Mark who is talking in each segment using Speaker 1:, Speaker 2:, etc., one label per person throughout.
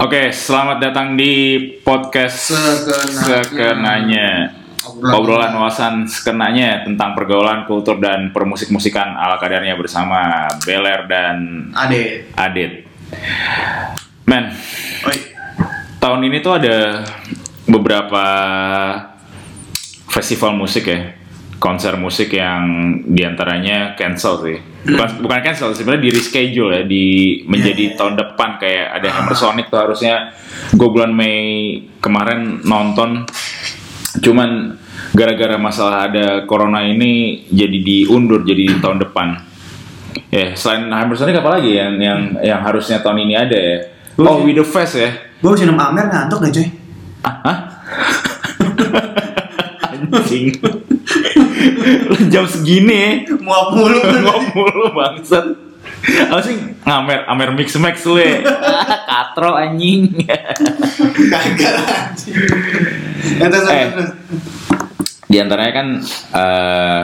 Speaker 1: Oke, selamat datang di podcast
Speaker 2: Sekenanya.
Speaker 1: Sekenanya.
Speaker 2: Obrolan.
Speaker 1: Obrolan wawasan sekenanya tentang pergaulan, kultur, dan permusik-musikan ala kadarnya bersama Beler dan
Speaker 2: Ade.
Speaker 1: Adit. Men,
Speaker 2: Oi.
Speaker 1: tahun ini tuh ada beberapa festival musik ya, konser musik yang diantaranya cancel sih. Bukan, bukan cancel, sebenarnya di reschedule ya, di menjadi tahun depan kayak ada Hammer Sonic tuh harusnya gue bulan Mei kemarin nonton, cuman gara-gara masalah ada corona ini jadi diundur jadi di tahun depan. Ya, selain Hammer Sonic apa lagi yang yang yang harusnya tahun ini ada ya? Oh, With the Fest ya.
Speaker 2: Gue bisa minum Amer ngantuk gak coy?
Speaker 1: anjing Lu jam segini
Speaker 2: Muap mulu
Speaker 1: ngomong mulu bangsat apa sih ngamer amer mix max lu ya katro anjing
Speaker 2: Gagal anjing. Ya, terus,
Speaker 1: Eh.
Speaker 2: terus.
Speaker 1: di antaranya kan eh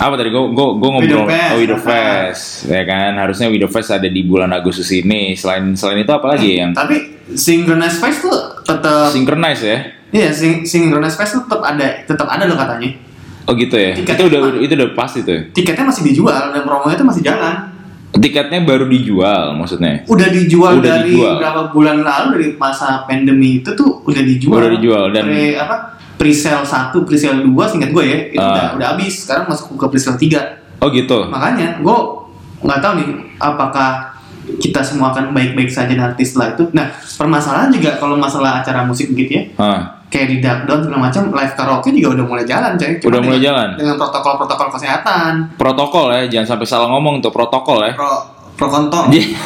Speaker 1: apa tadi gue gue gue ngobrol
Speaker 2: With the Fest.
Speaker 1: oh, with the fest ya kan harusnya with the fest ada di bulan Agustus ini selain selain itu apa lagi yang
Speaker 2: Tapi synchronized fest tuh tetap
Speaker 1: synchronize ya
Speaker 2: iya syn- synchronized fest tuh tetap ada tetap ada loh katanya.
Speaker 1: oh gitu ya
Speaker 2: Tiket
Speaker 1: itu udah
Speaker 2: lima.
Speaker 1: itu ya? udah pasti tuh
Speaker 2: Tiketnya masih dijual dan promonya tuh masih jalan.
Speaker 1: tiketnya baru dijual maksudnya
Speaker 2: Udah dijual
Speaker 1: Udah
Speaker 2: dari
Speaker 1: dijual.
Speaker 2: berapa bulan lalu dari masa pandemi itu tuh udah dijual.
Speaker 1: Udah dijual, dan-
Speaker 2: Pre, apa? Presale 1, presale 2 singkat gue ya, itu
Speaker 1: Ah.
Speaker 2: udah, udah habis. Sekarang masuk ke presale 3.
Speaker 1: oh gitu
Speaker 2: makanya gue nggak tahu nih apakah kita semua akan baik-baik saja nanti setelah itu nah permasalahan juga kalau masalah acara musik gitu ya
Speaker 1: ah
Speaker 2: kayak di Darkdown segala macam live karaoke juga udah mulai jalan coy Cuma
Speaker 1: Udah mulai
Speaker 2: dengan-
Speaker 1: jalan?
Speaker 2: dengan protokol-protokol kesehatan
Speaker 1: protokol ya jangan sampai salah ngomong tuh protokol ya
Speaker 2: pro pro kontol
Speaker 1: Iya.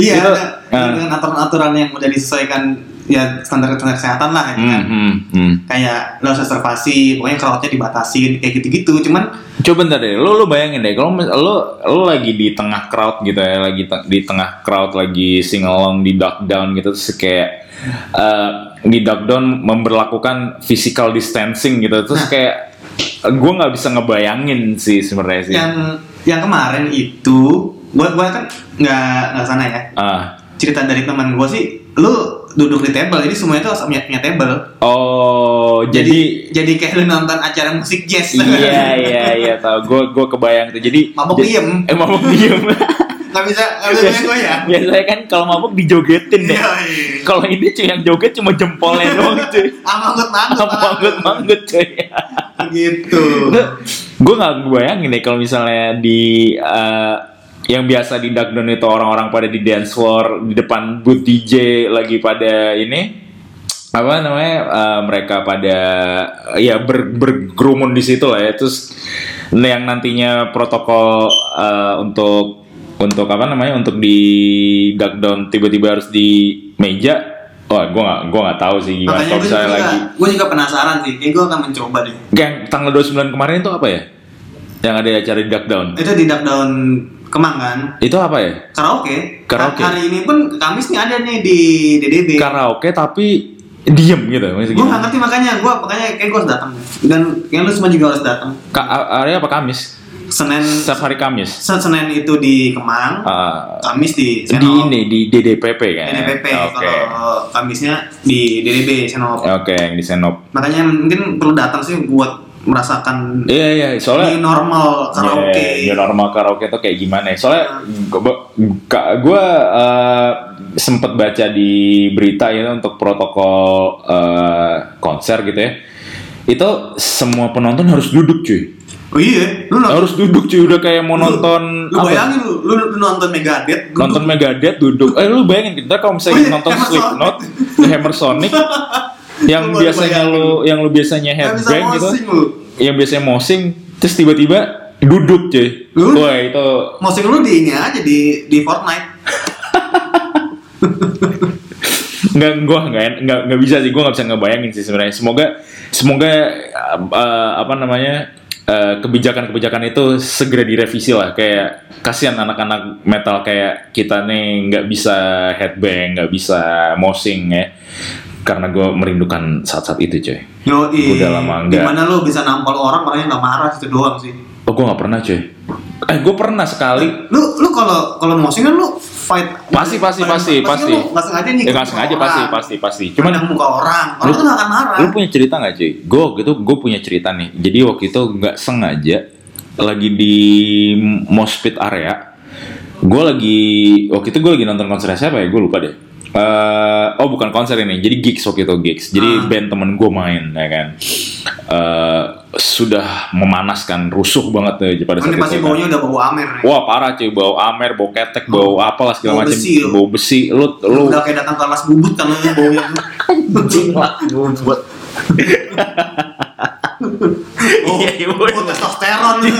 Speaker 2: iya
Speaker 1: Itu,
Speaker 2: ada-
Speaker 1: eh.
Speaker 2: dengan aturan-aturan yang udah disesuaikan ya standar-standar kesehatan lah ya
Speaker 1: Hmm,
Speaker 2: kan
Speaker 1: hmm, hmm.
Speaker 2: kayak lo reservasi pokoknya crowdnya dibatasin kayak gitu-gitu cuman
Speaker 1: Coba bentar deh, lo lo bayangin deh, kalau mis- lo lo lagi di tengah crowd gitu ya, lagi te- di tengah crowd lagi sing along di duck down gitu, terus kayak eh, di duck down memberlakukan physical distancing gitu, terus
Speaker 2: Nah.
Speaker 1: kayak gue nggak bisa ngebayangin sih sebenarnya sih.
Speaker 2: yang yang kemarin itu gua gua kan nggak nggak sana ya
Speaker 1: Ah,
Speaker 2: cerita dari teman gua sih lu duduk di table jadi semuanya tuh harus punya, punya table
Speaker 1: oh jadi,
Speaker 2: jadi kayak lu nonton acara musik jazz
Speaker 1: iya iya iya tau, gue gue kebayang tuh, jadi
Speaker 2: mabok
Speaker 1: jadi-
Speaker 2: diem
Speaker 1: eh mabok diem,
Speaker 2: nggak bisa nggak bisa gue ya
Speaker 1: biasanya kan kalau mabok dijogetin deh.
Speaker 2: iya Iya.
Speaker 1: Kalau ini cuy yang joget cuma jempolnya doang cuy.
Speaker 2: Ah, manggut manggut
Speaker 1: ya? Ah, Manggut manggut cuy.
Speaker 2: gitu
Speaker 1: Gue nggak bayangin deh kalau misalnya di eh, yang biasa di Duckdown itu orang-orang pada di dance floor di depan booth DJ lagi pada ini apa namanya eh, mereka pada eh, ya ber- bergerumun di situ lah ya terus yang nantinya protokol eh, untuk untuk apa namanya untuk di Duckdown tiba-tiba harus di meja Wah, gue gak, gua nggak tahu sih gimana kalau
Speaker 2: makanya gue
Speaker 1: misalnya
Speaker 2: juga
Speaker 1: lagi
Speaker 2: gue juga penasaran sih kayak gue akan mencoba deh
Speaker 1: Yang tanggal 29 kemarin itu apa ya? Yang ada acara di Duckdown.
Speaker 2: itu di Darkdown Kemang kan
Speaker 1: Itu apa ya?
Speaker 2: karaoke
Speaker 1: Karaoke.
Speaker 2: hari ini pun Kamis nih ada nih di DDD
Speaker 1: Karaoke tapi diem gitu. maksudnya
Speaker 2: gue
Speaker 1: gitu.
Speaker 2: Iya. nggak ngerti makanya gue makanya kayak gue harus datang dan yang lu semua juga harus datang
Speaker 1: Ka hari apa Kamis?
Speaker 2: Senin
Speaker 1: Setiap hari Kamis.
Speaker 2: Sen- Senin itu di Kemang
Speaker 1: Ah,
Speaker 2: Kamis di
Speaker 1: di ini di DDPP kan.
Speaker 2: NPP
Speaker 1: Oke.
Speaker 2: kalau Kamisnya di DDB Senop
Speaker 1: Oke, yang di Senop.
Speaker 2: makanya mungkin perlu datang sih buat merasakan
Speaker 1: Iya iya, soalnya
Speaker 2: new normal karaoke Iya.
Speaker 1: Iya, new normal karaoke tuh kayak gimana ya? Soalnya gue eh, sempet baca di berita gitu untuk protokol eh, konser gitu ya. Itu semua penonton harus duduk cuy.
Speaker 2: oh iya lu nonton
Speaker 1: Harus duduk cuy udah kayak mau nonton
Speaker 2: lu
Speaker 1: apa?
Speaker 2: bayangin lu, lu, lu nonton Megadeth duduk.
Speaker 1: Nonton Megadeth duduk. Eh lu bayangin kita kalau
Speaker 2: Oh
Speaker 1: misalnya
Speaker 2: iya,
Speaker 1: nonton
Speaker 2: Hammer
Speaker 1: Slipknot, The Hammer Sonic yang
Speaker 2: Lu baru
Speaker 1: biasanya
Speaker 2: bayangin.
Speaker 1: lu yang lu biasanya
Speaker 2: Nggak bisa
Speaker 1: headbang gitu,
Speaker 2: mosing lu
Speaker 1: yang biasanya mosing terus tiba-tiba duduk cuy.
Speaker 2: Lu-
Speaker 1: Wah, itu
Speaker 2: mosing lu di ini aja di di Fortnite
Speaker 1: nggak gua nggak en- nggak nggak bisa sih gua nggak bisa ngebayangin sih sebenarnya semoga semoga uh, uh, apa namanya uh, kebijakan-kebijakan itu segera direvisi lah kayak kasihan anak-anak metal kayak kita nih nggak bisa headbang nggak bisa mosing ya karena gua merindukan saat-saat itu coy
Speaker 2: Yo,
Speaker 1: Udah lama nggak.
Speaker 2: Gimana lu bisa nampol orang orangnya nggak marah itu doang sih.
Speaker 1: Oh gue nggak pernah cuy. Eh gue pernah sekali.
Speaker 2: Lu lu kalau kalau moshing kan lu fight.
Speaker 1: Pasti pasti pasti pasti.
Speaker 2: Lu nggak sengaja nih.
Speaker 1: Ya nggak sengaja pasti pasti pasti. Cuman
Speaker 2: muka orang. Orang
Speaker 1: Lu-
Speaker 2: tuh nggak akan marah.
Speaker 1: Lu punya cerita nggak cuy? Gue gitu, gue punya cerita nih. Jadi waktu itu nggak sengaja lagi di mospit area. Gue lagi waktu itu gue lagi nonton konser siapa ya? Gue lupa deh. Eh, oh bukan konser ini, jadi gigs waktu itu gigs. Jadi
Speaker 2: Ah.
Speaker 1: band temen gue main, ya kan. Eh, sudah memanaskan, rusuh banget tuh pada saat
Speaker 2: Ini
Speaker 1: itu.
Speaker 2: pasti
Speaker 1: kan.
Speaker 2: baunya udah bau amer. ya. nih.
Speaker 1: Wah parah cuy, bau amer, bau ketek, bau apalah segala
Speaker 2: Bau
Speaker 1: macam,
Speaker 2: besi, lu.
Speaker 1: bau besi, lu lu
Speaker 2: Udah kayak datang ke kelas bubut kan lu baunya tuh.
Speaker 1: buat
Speaker 2: Oh,
Speaker 1: Iya, iya,
Speaker 2: bau testosteron. lu.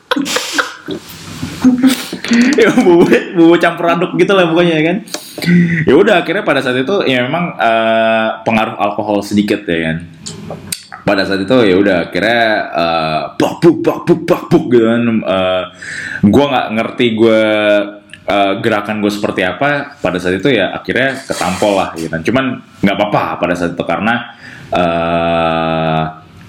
Speaker 1: ya bumbu bumbu campur aduk gitu lah pokoknya ya kan ya udah akhirnya pada saat itu ya memang eh, pengaruh alkohol sedikit ya kan pada saat itu ya udah akhirnya eh, bak buk bak buk bak buk gitu kan Eh, gua nggak ngerti gue gerakan gue seperti apa pada saat itu ya akhirnya ketampol lah gitu kan cuman nggak apa-apa pada saat itu karena eh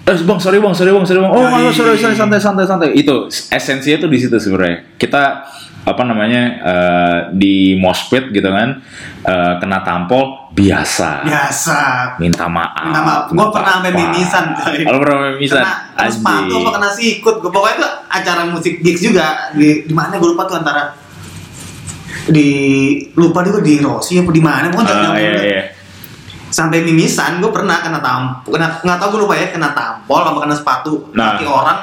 Speaker 1: eh bang sorry bang sorry bang sorry bang oh
Speaker 2: Yoi.
Speaker 1: maaf, sorry sorry santai santai santai itu esensinya tuh di situ sebenarnya kita apa namanya eh, di mospit gitu kan eh, kena tampol biasa
Speaker 2: Biasa.
Speaker 1: minta maaf
Speaker 2: Minta maaf. Gua
Speaker 1: nggak
Speaker 2: pernah sampai
Speaker 1: apa-apa.
Speaker 2: mimisan, coy.
Speaker 1: Lu pernah sampai mimisan
Speaker 2: Kena kena sepatu apa kena sikut. Gua pokoknya tuh acara musik gigs juga di di mana gua lupa tuh antara di lupa juga di Rossi apa di mana pokoknya
Speaker 1: Ah,
Speaker 2: jauh-jauh
Speaker 1: iya,
Speaker 2: banget.
Speaker 1: iya.
Speaker 2: sampai mimisan gue pernah kena tampol kena nggak tau gue lupa ya kena tampol apa kena sepatu
Speaker 1: Nah.
Speaker 2: kaki orang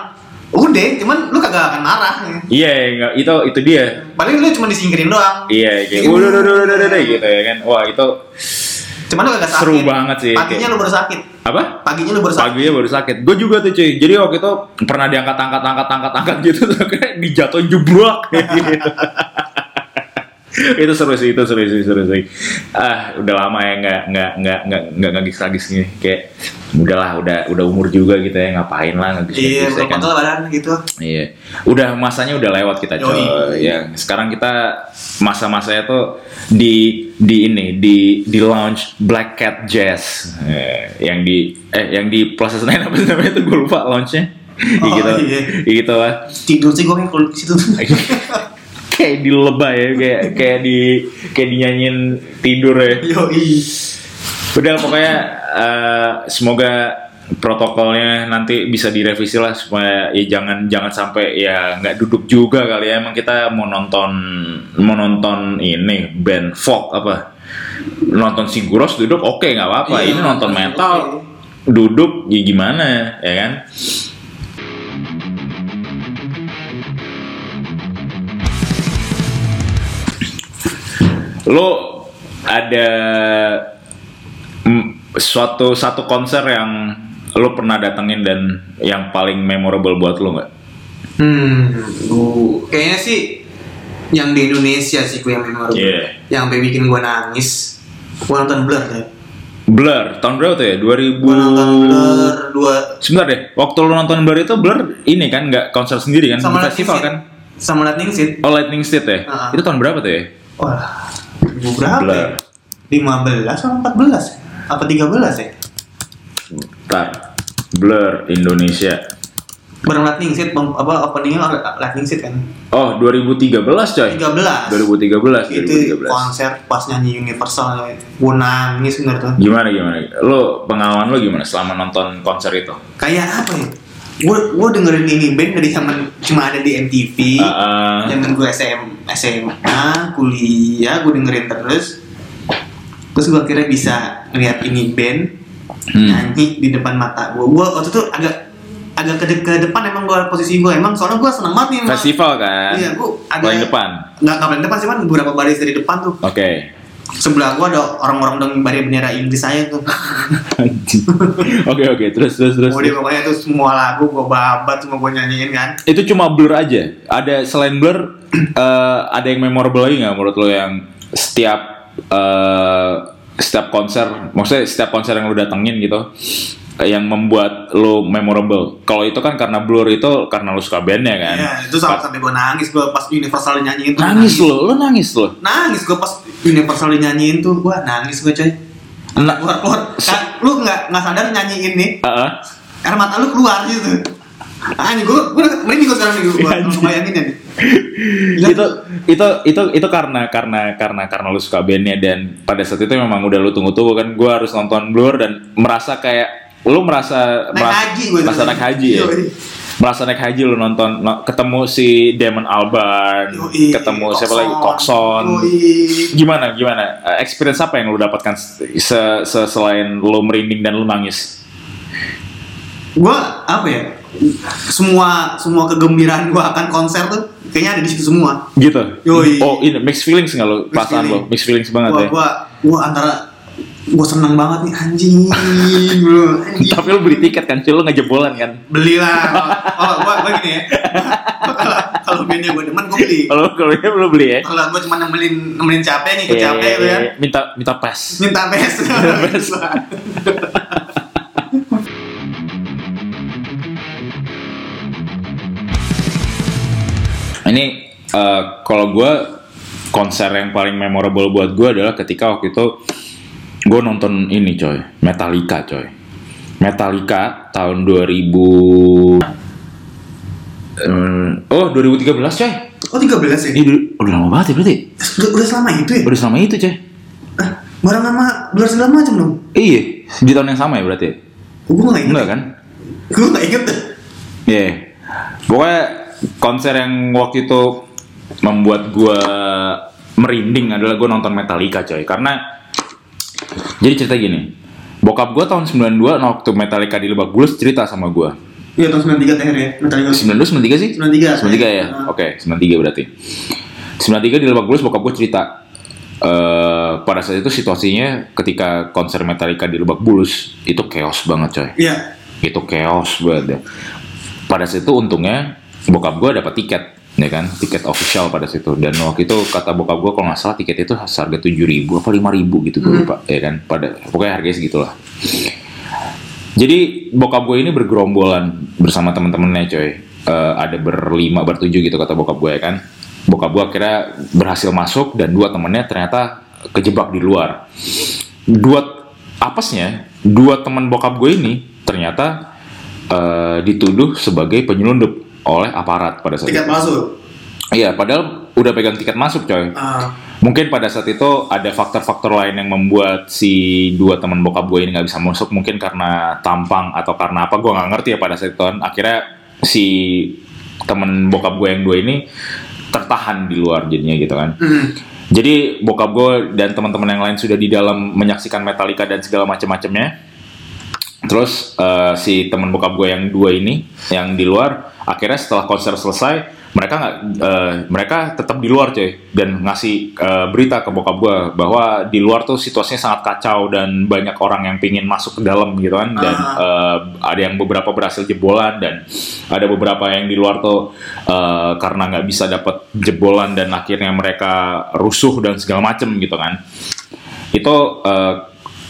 Speaker 2: udah cuman lu kagak akan marah
Speaker 1: Iya, nggak- itu itu dia.
Speaker 2: paling lu cuma disingkirin doang
Speaker 1: Iya, kayak udah udah udah udah udah gitu ya kan. Wah, itu
Speaker 2: cuman lu kagak sakit
Speaker 1: Seru banget sih,
Speaker 2: paginya
Speaker 1: kayak-
Speaker 2: lu baru sakit
Speaker 1: apa?
Speaker 2: paginya lu baru sakit
Speaker 1: Paginya baru sakit. Gue juga tuh cuy. Jadi waktu itu pernah diangkat angkat angkat angkat angkat gitu terus akhirnya dijatuhin jebrak. gitu. itu seru sih, itu seru sih, seru sih. Ah, udah lama ya nggak nggak nggak nggak nggak ngagis ngagis gini. Kayak udahlah, udah udah umur juga gitu ya kan? ngapain lah ngagis
Speaker 2: iya
Speaker 1: ngagis
Speaker 2: belum kontrol badan gitu
Speaker 1: Iya, udah masanya udah lewat kita coy.
Speaker 2: Yoi.
Speaker 1: Ya, sekarang kita masa-masanya tuh di di ini di di lounge Black Cat Jazz Eh, yang di eh yang di Plaza Senayan apa sih namanya tuh gue lupa lounge-nya.
Speaker 2: Oh,
Speaker 1: gitu,
Speaker 2: iya.
Speaker 1: gitu lah.
Speaker 2: tidur sih gue kayak kalau di situ
Speaker 1: kayak di lebay ya, kayak kayak di kayak dinyanyiin tidur ya.
Speaker 2: yoi
Speaker 1: Udah pokoknya eh, semoga protokolnya nanti bisa direvisi lah supaya ya jangan jangan sampai ya nggak duduk juga kali ya emang kita mau nonton mau nonton ini band folk apa nonton Siguros duduk oke nggak apa-apa
Speaker 2: Iya,
Speaker 1: ini nonton
Speaker 2: nonton
Speaker 1: metal
Speaker 2: oke.
Speaker 1: duduk ya gimana ya kan lo ada mm, suatu satu konser yang lo pernah datengin dan yang paling memorable buat lo nggak?
Speaker 2: Hmm, gua- kayaknya sih yang di Indonesia sih gue yang memorable.
Speaker 1: Iya.
Speaker 2: Yang sampai bikin gue nangis. Gue nonton Blur ya.
Speaker 1: Blur, tahun berapa tuh ya?
Speaker 2: Gue nonton
Speaker 1: 2000
Speaker 2: Blur dua
Speaker 1: Sebentar deh, waktu lo nonton Blur itu Blur ini kan nggak konser sendiri kan?
Speaker 2: sama
Speaker 1: festival
Speaker 2: Lightning
Speaker 1: kan?
Speaker 2: Seed. Sama Lightning Seed.
Speaker 1: Oh Lightning State ya?
Speaker 2: Ah.
Speaker 1: Itu tahun berapa tuh ya?
Speaker 2: Wah, ribu berapa?
Speaker 1: Blur.
Speaker 2: Ya? 15 atau 14? Apa 13 ya?
Speaker 1: Bentar. Blur Indonesia.
Speaker 2: Bareng Lightning Seed, pem- apa openingnya Lightning Seed kan?
Speaker 1: Oh 2013 coy.
Speaker 2: 13.
Speaker 1: 2013,
Speaker 2: Itu
Speaker 1: 2013.
Speaker 2: konser pas nyanyi Universal, gue nangis bener tuh.
Speaker 1: Gimana gimana? Lo pengalaman lo gimana selama nonton konser itu?
Speaker 2: kayak apa ya gue gue dengerin ini band dari zaman cuma ada di MTV
Speaker 1: Ah, ah.
Speaker 2: zaman gue SM, SMA kuliah gue dengerin terus terus gue akhirnya bisa ngeliat ini band
Speaker 1: Hmm.
Speaker 2: nyanyi di depan mata gue gue waktu itu agak agak ke, de- ke depan emang gue posisi gue emang soalnya gue seneng banget nih emang.
Speaker 1: Festival kan?
Speaker 2: iya gue ada
Speaker 1: Paling depan.
Speaker 2: nggak nggak paling depan sih kan beberapa baris dari depan tuh
Speaker 1: Oke.
Speaker 2: sebelah gue ada orang-orang dengan bendera bendera Inggris saya tuh
Speaker 1: Anjing. Oke oke terus terus terus.
Speaker 2: Udah pokoknya itu semua lagu gue babat semua gue nyanyiin kan
Speaker 1: Itu cuma blur aja. Ada selain blur, eh, ada yang memorable lagi nggak menurut lo yang setiap eh, setiap konser, maksudnya setiap konser yang lo datengin gitu, eh, yang membuat lo memorable. Kalau itu kan karena blur itu karena lo suka bandnya kan.
Speaker 2: Iya, itu sampai sampai gue nangis gue pas Universal nyanyiin tuh.
Speaker 1: Nangis lo, lo nangis lo.
Speaker 2: Nangis gue pas Universal nyanyiin tuh, gue nangis gue coy.
Speaker 1: Na-
Speaker 2: Keluar keluar. Kan, lu nggak nggak sadar nyanyiin nih,
Speaker 1: Heeh.
Speaker 2: air mata lu keluar gitu. Ah, ini gue, gue merinding gue sekarang nih gue,
Speaker 1: Iya, Anjing.
Speaker 2: gue bayangin ya nih. Gila.
Speaker 1: itu itu itu itu karena karena karena karena lu suka bandnya dan pada saat itu memang udah lu tunggu-tunggu kan gue harus nonton Blur dan merasa kayak lu merasa
Speaker 2: Naik
Speaker 1: merasa,
Speaker 2: haji gua itu.
Speaker 1: merasa naik haji ya
Speaker 2: Yoi.
Speaker 1: merasa naik haji lu nonton no- ketemu si Damon Albarn
Speaker 2: Yoi,
Speaker 1: ketemu siapa lagi Coxon
Speaker 2: Coxon. Yoi.
Speaker 1: gimana gimana Eh, experience apa yang lu dapatkan se- se- selain lu merinding dan lu nangis
Speaker 2: gua apa ya semua semua kegembiraan gua akan konser tuh kayaknya ada di situ semua
Speaker 1: gitu
Speaker 2: Yoi.
Speaker 1: oh ini mixed feelings nggak lu perasaan lu
Speaker 2: feeling.
Speaker 1: mixed feelings banget
Speaker 2: gua
Speaker 1: ya
Speaker 2: gua gua antara gua seneng banget nih anjing bro anjing
Speaker 1: tapi lu beli tiket kan cuy lu ngejebolan kan
Speaker 2: belilah kalau gua gua gini ya kalau kalau bandnya gua demen gua beli
Speaker 1: Kalau kalau dia belum beli ya.
Speaker 2: kalau gua cuma nemelin nemelin capek nih ke
Speaker 1: Iya,
Speaker 2: capek
Speaker 1: iya,
Speaker 2: gua ya
Speaker 1: iya. Minta minta pas.
Speaker 2: minta pes
Speaker 1: pes. Ini eh, kalau gue konser yang paling memorable buat gue adalah ketika waktu itu gue nonton ini coy Metallica coy Metallica tahun 2000 eh, oh 2013 coy
Speaker 2: oh 13 ya
Speaker 1: ini du- udah lama banget ya berarti
Speaker 2: udah, udah selama itu ya
Speaker 1: udah selama itu coy
Speaker 2: ah, barang sama belas segala macam dong
Speaker 1: iya di tahun yang sama ya berarti
Speaker 2: gua nggak inget
Speaker 1: enggak kan
Speaker 2: gua nggak inget
Speaker 1: Iya. Pokoknya konser yang waktu itu membuat gua merinding adalah gua nonton Metallica coy. Karena jadi cerita gini. Bokap gua tahun 92 waktu Metallica di Lebak Bulus cerita sama gua.
Speaker 2: Iya tahun 93 terakhir ya Metallica
Speaker 1: 92 93 sih?
Speaker 2: 93.
Speaker 1: 93 ya.
Speaker 2: Nah.
Speaker 1: Oke, 93 berarti. 93 di Lebak Bulus bokap gua cerita eh pada saat itu situasinya ketika konser Metallica di Lebak Bulus itu chaos banget coy
Speaker 2: Iya
Speaker 1: itu chaos banget ya. pada situ untungnya bokap gue dapat tiket ya kan tiket official pada situ dan waktu itu kata bokap gue kalau nggak salah tiket itu harga tujuh ribu apa lima ribu gitu gue lupa ya kan pada pokoknya harganya segitulah jadi bokap gue ini bergerombolan bersama teman-temannya coy. Eh, ada berlima bertujuh gitu kata bokap gue ya kan. Bokap gue akhirnya berhasil masuk dan dua temennya ternyata kejebak di luar. Dua apesnya dua teman bokap gue ini ternyata eh, dituduh sebagai penyelundup oleh aparat pada saat
Speaker 2: tiket
Speaker 1: itu.
Speaker 2: palsu
Speaker 1: Iya, padahal udah pegang tiket masuk coy.
Speaker 2: Ah,
Speaker 1: Mungkin pada saat itu ada faktor-faktor lain yang membuat si dua teman bokap gue ini nggak bisa masuk. Mungkin karena tampang atau karena apa, gue nggak ngerti ya pada saat itu. Akhirnya si temen bokap gue yang dua ini tertahan di luar jadinya gitu kan.
Speaker 2: mm.
Speaker 1: Jadi bokap gue dan teman-teman yang lain sudah di dalam menyaksikan Metallica dan segala macam-macamnya. Terus eh, si teman bokap gue yang dua ini yang di luar akhirnya setelah konser selesai mereka nggak eh, mereka tetap di luar coy dan ngasih eh, berita ke bokap gue bahwa di luar tuh situasinya sangat kacau dan banyak orang yang pingin masuk ke dalam gitu kan dan
Speaker 2: Ah.
Speaker 1: eh, ada yang beberapa berhasil jebolan dan ada beberapa yang di luar tuh eh, karena nggak bisa dapat jebolan dan akhirnya mereka rusuh dan segala macem gitu kan itu eh,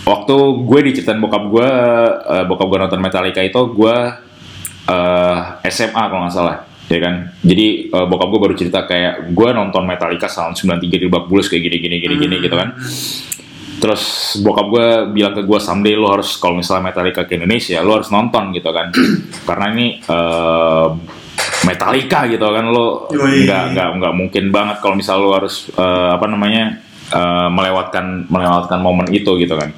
Speaker 1: waktu gue diceritain bokap gue eh, bokap gue nonton Metallica itu gue eh, SMA kalau nggak salah ya kan jadi eh, bokap gue baru cerita kayak gue nonton Metallica tahun 93 di Lebak Bulus kayak gini gini gini gini gitu kan terus bokap gue bilang ke gue someday lo harus kalau misalnya Metallica ke Indonesia lo harus nonton gitu kan karena ini eh, Metallica gitu kan lo
Speaker 2: Yoi.
Speaker 1: nggak nggak nggak mungkin banget kalau misalnya lo harus eh, apa namanya eh, melewatkan melewatkan momen itu gitu kan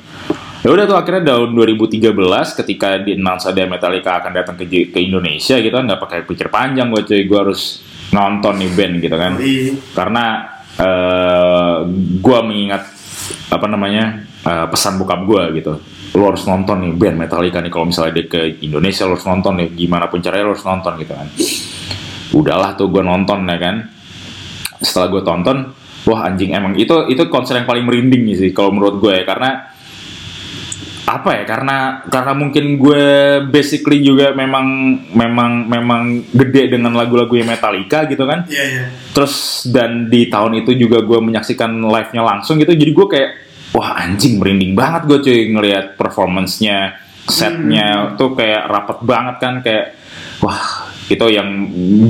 Speaker 1: ya udah tuh akhirnya tahun 2013 ketika di announce ada Metallica akan datang ke ke Indonesia gitu kan nggak pakai pikir panjang gue cuy gue harus nonton nih band gitu kan
Speaker 2: Yoi.
Speaker 1: karena eh gue mengingat apa namanya eh, pesan bokap gue gitu lo harus nonton nih band Metallica nih kalau misalnya dia ke Indonesia lo harus nonton nih gimana pun caranya lo harus nonton gitu kan udahlah tuh gue nonton ya kan setelah gue tonton wah anjing emang itu itu konser yang paling merinding sih kalau menurut gue ya karena apa ya karena karena mungkin gue basically juga memang memang memang gede dengan lagu-lagu yang Metallica gitu kan
Speaker 2: Iya iya.
Speaker 1: terus dan di tahun itu juga gue menyaksikan live-nya langsung gitu jadi gue kayak wah anjing merinding banget gue cuy ngelihat performance-nya
Speaker 2: Hmm.
Speaker 1: setnya tuh kayak rapat banget kan kayak wah itu yang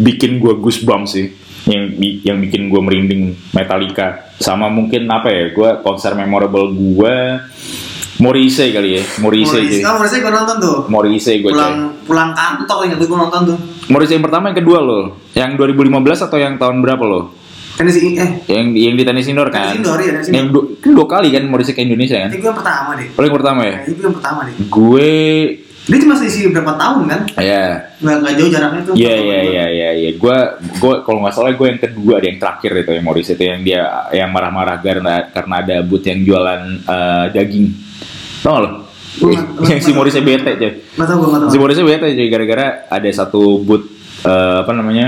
Speaker 1: bikin gue goosebumps sih yang bi- yang bikin gue merinding Metallica sama mungkin apa ya gue konser memorable gue Morise kali ya Morise
Speaker 2: Morrissey.
Speaker 1: gitu
Speaker 2: Oh, Morrissey gue nonton tuh.
Speaker 1: Morise gue
Speaker 2: Pulang
Speaker 1: cek
Speaker 2: pulang kantor ingat gue nonton tuh.
Speaker 1: Morise yang pertama yang kedua loh yang 2015 atau yang tahun berapa loh
Speaker 2: Tenis ini eh
Speaker 1: yang yang di tenis indoor kan
Speaker 2: Tenis indoor, iya, tenis
Speaker 1: yang dua, kan dua kali kan Morise ke Indonesia kan
Speaker 2: itu yang pertama deh.
Speaker 1: paling pertama ya
Speaker 2: Kayaknya itu yang pertama deh.
Speaker 1: gue
Speaker 2: Dia cuma selisih berapa tahun kan?
Speaker 1: ya
Speaker 2: Nggak, nggak jauh jaraknya tuh.
Speaker 1: Iya iya iya iya iya. Gua gua kalau nggak salah gue yang kedua ada yang terakhir itu yang Morris itu yang dia yang marah-marah karena karena ada but yang jualan eh, daging. Tau nggak lo?
Speaker 2: Gua nggak- nggak-
Speaker 1: yang si
Speaker 2: nggak-
Speaker 1: Morrisnya bete cuy.
Speaker 2: Nggak tahu gue nggak tahu.
Speaker 1: Si Morrisnya bete cuy gara-gara ada satu but eh, apa namanya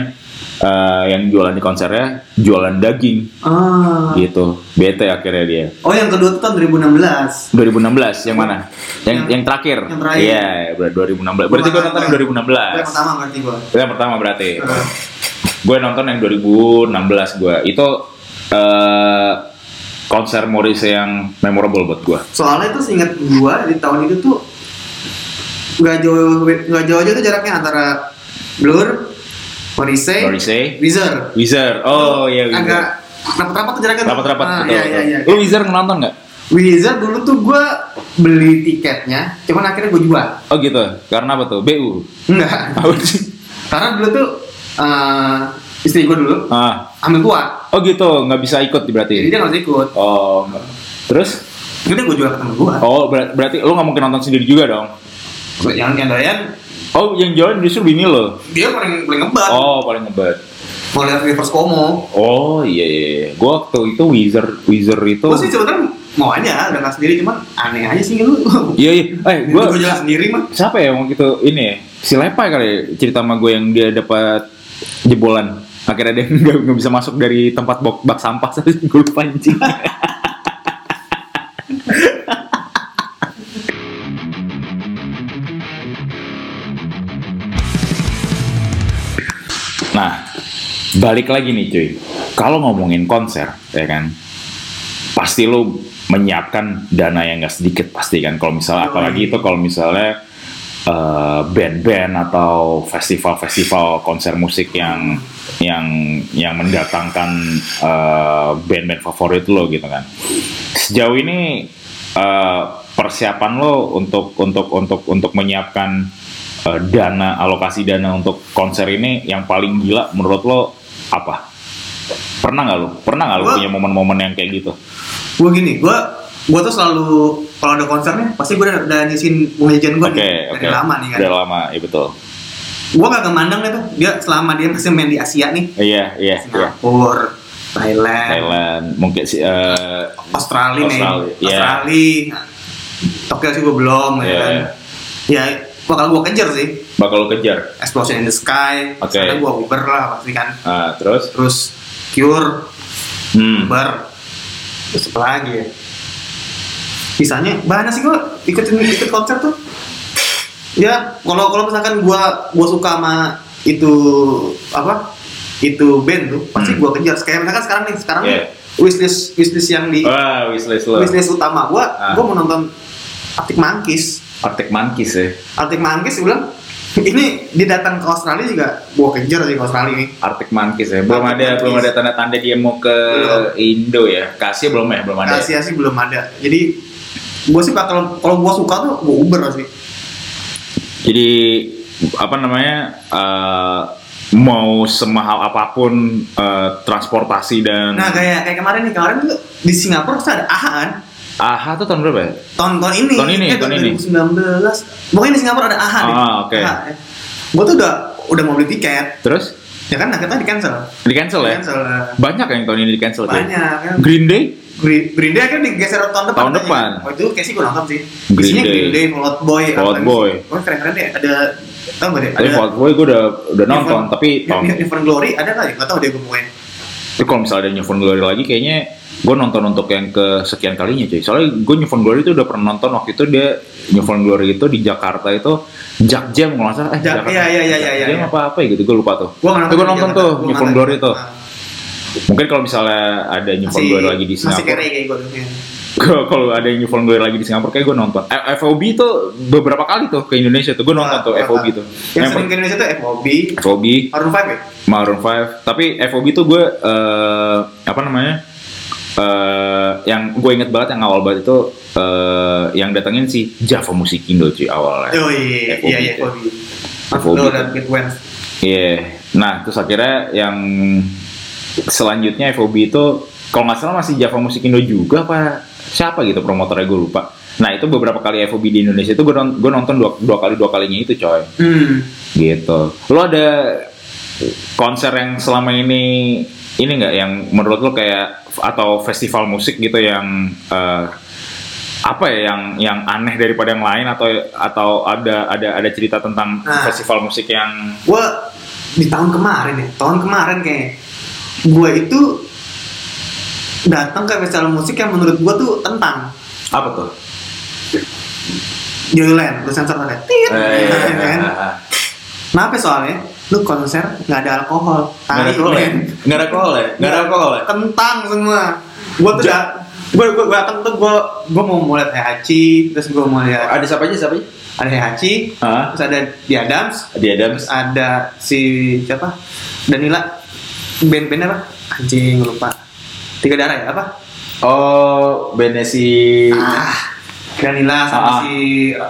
Speaker 1: eh, yang jualan di konsernya jualan daging
Speaker 2: Ah.
Speaker 1: gitu. Bete akhirnya dia.
Speaker 2: Oh yang kedua tuh tahun 2016.
Speaker 1: 2016 yang mana? Yang yang,
Speaker 2: Yang-
Speaker 1: terakhir.
Speaker 2: yang terakhir.
Speaker 1: Iya, ber- 2016. Berarti gue nonton yang
Speaker 2: Gua Yang
Speaker 1: 2016.
Speaker 2: pertama Iya. berarti gue.
Speaker 1: Itu Oh, yang pertama berarti. gue nonton yang 2016 gue itu eh konser Morris yang memorable buat gue
Speaker 2: Soalnya itu seingat gue di tahun itu tuh nggak jauh nggak jauh aja tuh jaraknya antara Blur, Morrissey,
Speaker 1: Morrissey.
Speaker 2: Weezer.
Speaker 1: Wizard oh iya
Speaker 2: Eh. Agak
Speaker 1: Wizard
Speaker 2: rapat-rapat tuh jaraknya. tuh.
Speaker 1: rapat-rapat
Speaker 2: Ah,
Speaker 1: betul,
Speaker 2: Iya iya
Speaker 1: betul.
Speaker 2: iya.
Speaker 1: lu Wizard nonton nggak
Speaker 2: Weezer dulu tuh gue beli tiketnya, cuman akhirnya gue jual.
Speaker 1: oh gitu karena apa tuh BU
Speaker 2: Enggak.
Speaker 1: apa sih
Speaker 2: Karena dulu tuh eh, istri gue dulu
Speaker 1: ah
Speaker 2: ambil gua,
Speaker 1: oh gitu nggak bisa ikut
Speaker 2: jadi
Speaker 1: berarti
Speaker 2: dia nggak bisa ikut.
Speaker 1: oh nggak. terus
Speaker 2: Jadi gue jual ke temen gue.
Speaker 1: oh ber- berarti lu nggak mungkin nonton sendiri juga dong
Speaker 2: Yang yang doyan
Speaker 1: oh yang jualan justru bini lo
Speaker 2: dia paling paling ngebat.
Speaker 1: oh paling ngebet
Speaker 2: Mau lihat reverse Como.
Speaker 1: oh iya iya gue waktu itu Wizard Wizard itu
Speaker 2: Gue sih sebenarnya mau aja, udah nggak sendiri cuman aneh aja sih lu.
Speaker 1: iya iya eh
Speaker 2: Gue
Speaker 1: gue
Speaker 2: jalan sendiri mah.
Speaker 1: siapa ya waktu itu ini ya? si Lepa kali ya, cerita sama gue yang dia dapat jebolan akhirnya dia nggak nggak bisa masuk dari tempat bak, bak sampah terus gue lupa anjing. nah balik lagi nih cuy kalau ngomongin konser ya kan pasti lo menyiapkan dana yang gak sedikit pasti kan kalau misalnya apalagi itu kalau misalnya eh, band-band atau festival-festival konser musik yang yang yang mendatangkan eh, band-band favorit lo gitu kan sejauh ini eh, persiapan lo untuk untuk untuk untuk menyiapkan eh, dana alokasi dana untuk konser ini yang paling gila menurut lo apa pernah nggak lo pernah nggak lo
Speaker 2: Gua-
Speaker 1: punya momen-momen yang kayak gitu
Speaker 2: Gue gini, gue gue tuh selalu kalau ada konsernya pasti gue udah, udah nyisin uang jajan gue
Speaker 1: Oke,
Speaker 2: nih,
Speaker 1: oke.
Speaker 2: dari lama nih kan.
Speaker 1: Udah lama, ya betul.
Speaker 2: Gue gak kemandang deh tuh, dia selama dia masih main di Asia nih,
Speaker 1: Iya, iya, iya.
Speaker 2: Singapura, Thailand,
Speaker 1: Thailand, mungkin sih eh,
Speaker 2: Australia, nih,
Speaker 1: Australia, iya.
Speaker 2: Australia, Tokyo sih gue belum, ya
Speaker 1: Iya,
Speaker 2: kan. Ya bakal gue kejar sih,
Speaker 1: bakal lo kejar.
Speaker 2: Explosion in the Sky,
Speaker 1: Oke.
Speaker 2: karena gue Uber lah pasti kan.
Speaker 1: Ah, terus,
Speaker 2: Terus Cure,
Speaker 1: hmm,
Speaker 2: bar terus apa lagi ya sisanya banyak sih gua ikutin ikut konser tuh ya kalau kalau misalkan gua gua suka sama itu apa itu band tuh pasti
Speaker 1: Hmm.
Speaker 2: gua kejar kayak misalkan sekarang nih sekarang
Speaker 1: Yeah.
Speaker 2: wishlist wishlist yang di
Speaker 1: wah, wishlist lo.
Speaker 2: wishlist utama gua
Speaker 1: Ah.
Speaker 2: gua mau nonton Arctic Monkeys
Speaker 1: Arctic Monkeys ya.
Speaker 2: Arctic Monkeys gua bilang ini dia datang ke Australia juga gua kejar sih ke Australia nih
Speaker 1: Arctic Monkeys ya. Belum
Speaker 2: Arctic
Speaker 1: ada, belum
Speaker 2: Monkeys.
Speaker 1: ada tanda-tanda dia mau ke
Speaker 2: Belum.
Speaker 1: Indo ya. Kasih belum ya, belum ada.
Speaker 2: Asia sih belum ada jadi gua sih bakal kalau gua suka tuh gua uber sih
Speaker 1: Jadi apa namanya? eh, mau semahal apapun eh, transportasi dan
Speaker 2: Nah kayak kayak kemarin nih kemarin tuh di Singapura tuh ada AHA kan
Speaker 1: AHA tuh tahun berapa ya?
Speaker 2: tahun tahun ini
Speaker 1: Tahun ini,
Speaker 2: eh,
Speaker 1: tahun ini.
Speaker 2: 2019 pokoknya di Singapura ada AHA nih
Speaker 1: Ah, oke.
Speaker 2: gue ya. tuh udah udah mau beli tiket
Speaker 1: Terus
Speaker 2: ya kan akhirnya di cancel
Speaker 1: di cancel ya?
Speaker 2: cancel eh,
Speaker 1: Banyak yang tahun ini di cancel tuh. ya?
Speaker 2: banyak kan
Speaker 1: Green Day
Speaker 2: Green, Green Day akhirnya digeser tahun depan
Speaker 1: Tahun
Speaker 2: katanya.
Speaker 1: depan.
Speaker 2: oh, itu kayak sih gue nonton sih
Speaker 1: Green
Speaker 2: Isinya
Speaker 1: Day.
Speaker 2: Green Day Fall Out Boy
Speaker 1: Fall Out
Speaker 2: apalagi
Speaker 1: Boy.
Speaker 2: sih. oh keren keren deh ada tau gak deh
Speaker 1: Tapi Fall Out Boy gue udah udah nonton,
Speaker 2: Newfound-
Speaker 1: tapi tahun
Speaker 2: New- Newfound Glory ada kali gak tau deh gue mau main
Speaker 1: tapi kalau misalnya ada Newfound Glory lagi kayaknya gue nonton untuk yang ke sekian kalinya cuy. Soalnya gue Newfound Glory itu udah pernah nonton waktu itu dia Newfound Glory itu di Jakarta itu Jack Jam kalau nggak salah. Eh,
Speaker 2: Jack-
Speaker 1: Jakarta.
Speaker 2: iya, iya, iya,
Speaker 1: Jack
Speaker 2: iya,
Speaker 1: Jam
Speaker 2: iya.
Speaker 1: apa apa ya gitu gue lupa tuh.
Speaker 2: gue
Speaker 1: Tapi gue nonton tuh Newfound Glory tuh.
Speaker 2: Nah,
Speaker 1: Mungkin kalau misalnya ada Newfound Glory lagi di
Speaker 2: masih
Speaker 1: Singapora,
Speaker 2: kere kayak ya. gue tuh
Speaker 1: Gua- kalau ada yang Newfound Glory lagi di Singapura kayak gue nonton. Eh, FOB itu beberapa kali tuh ke Indonesia tuh gue nonton tuh
Speaker 2: Ah,
Speaker 1: FOB
Speaker 2: ah.
Speaker 1: tuh.
Speaker 2: Yang
Speaker 1: Yang
Speaker 2: sering ke Indonesia tuh FOB,
Speaker 1: per- FOB
Speaker 2: Maroon 5 ya?
Speaker 1: Maroon 5 tapi FOB tuh gue eh, apa namanya eh yang gue inget banget yang awal banget itu eh yang datangin si Java Musik Indo cuy awalnya.
Speaker 2: Oh iya,
Speaker 1: FOB
Speaker 2: iya, iya,
Speaker 1: itu.
Speaker 2: Kobe.
Speaker 1: FOB
Speaker 2: Afdo
Speaker 1: itu.
Speaker 2: dan Pete Wentz.
Speaker 1: Iya. Nah, terus akhirnya yang selanjutnya FOB itu kalau nggak salah masih Java Musik Indo juga apa siapa gitu promotornya gue lupa. Nah itu beberapa kali FOB di Indonesia itu gue non- gue nonton dua, dua kali dua kalinya itu coy
Speaker 2: Hmm.
Speaker 1: gitu. Lo ada konser yang selama ini ini nggak yang menurut lo kayak atau festival musik gitu yang eh, apa ya yang yang aneh daripada yang lain atau atau ada ada ada cerita tentang
Speaker 2: Nah.
Speaker 1: festival musik yang
Speaker 2: gue di tahun kemarin ya tahun kemarin kayak gue itu datang ke festival musik yang menurut gue tuh tentang
Speaker 1: apa tuh?
Speaker 2: Joyland lu sensor tadi tit
Speaker 1: Eh,
Speaker 2: gitu kan kenapa soalnya lu konser nggak ada alkohol
Speaker 1: Nggak ada
Speaker 2: tarik
Speaker 1: alkohol ya?
Speaker 2: men. Iya,
Speaker 1: Nggak ada alkohol ya? Nggak ada alkohol ya?
Speaker 2: kentang semua gue tuh
Speaker 1: Ja-
Speaker 2: dat gue gue datang tuh gue gue mau mulai Hachi terus gue mau lihat
Speaker 1: Ada siapa aja siapa aja?
Speaker 2: ada Hachi
Speaker 1: Hah?
Speaker 2: terus ada The Adams
Speaker 1: Adi Adams.
Speaker 2: terus ada si siapa Danila band-band apa anjing lupa tiga darah ya apa
Speaker 1: Oh, bandnya si
Speaker 2: ah Danila sama
Speaker 1: Iya. Ah.
Speaker 2: si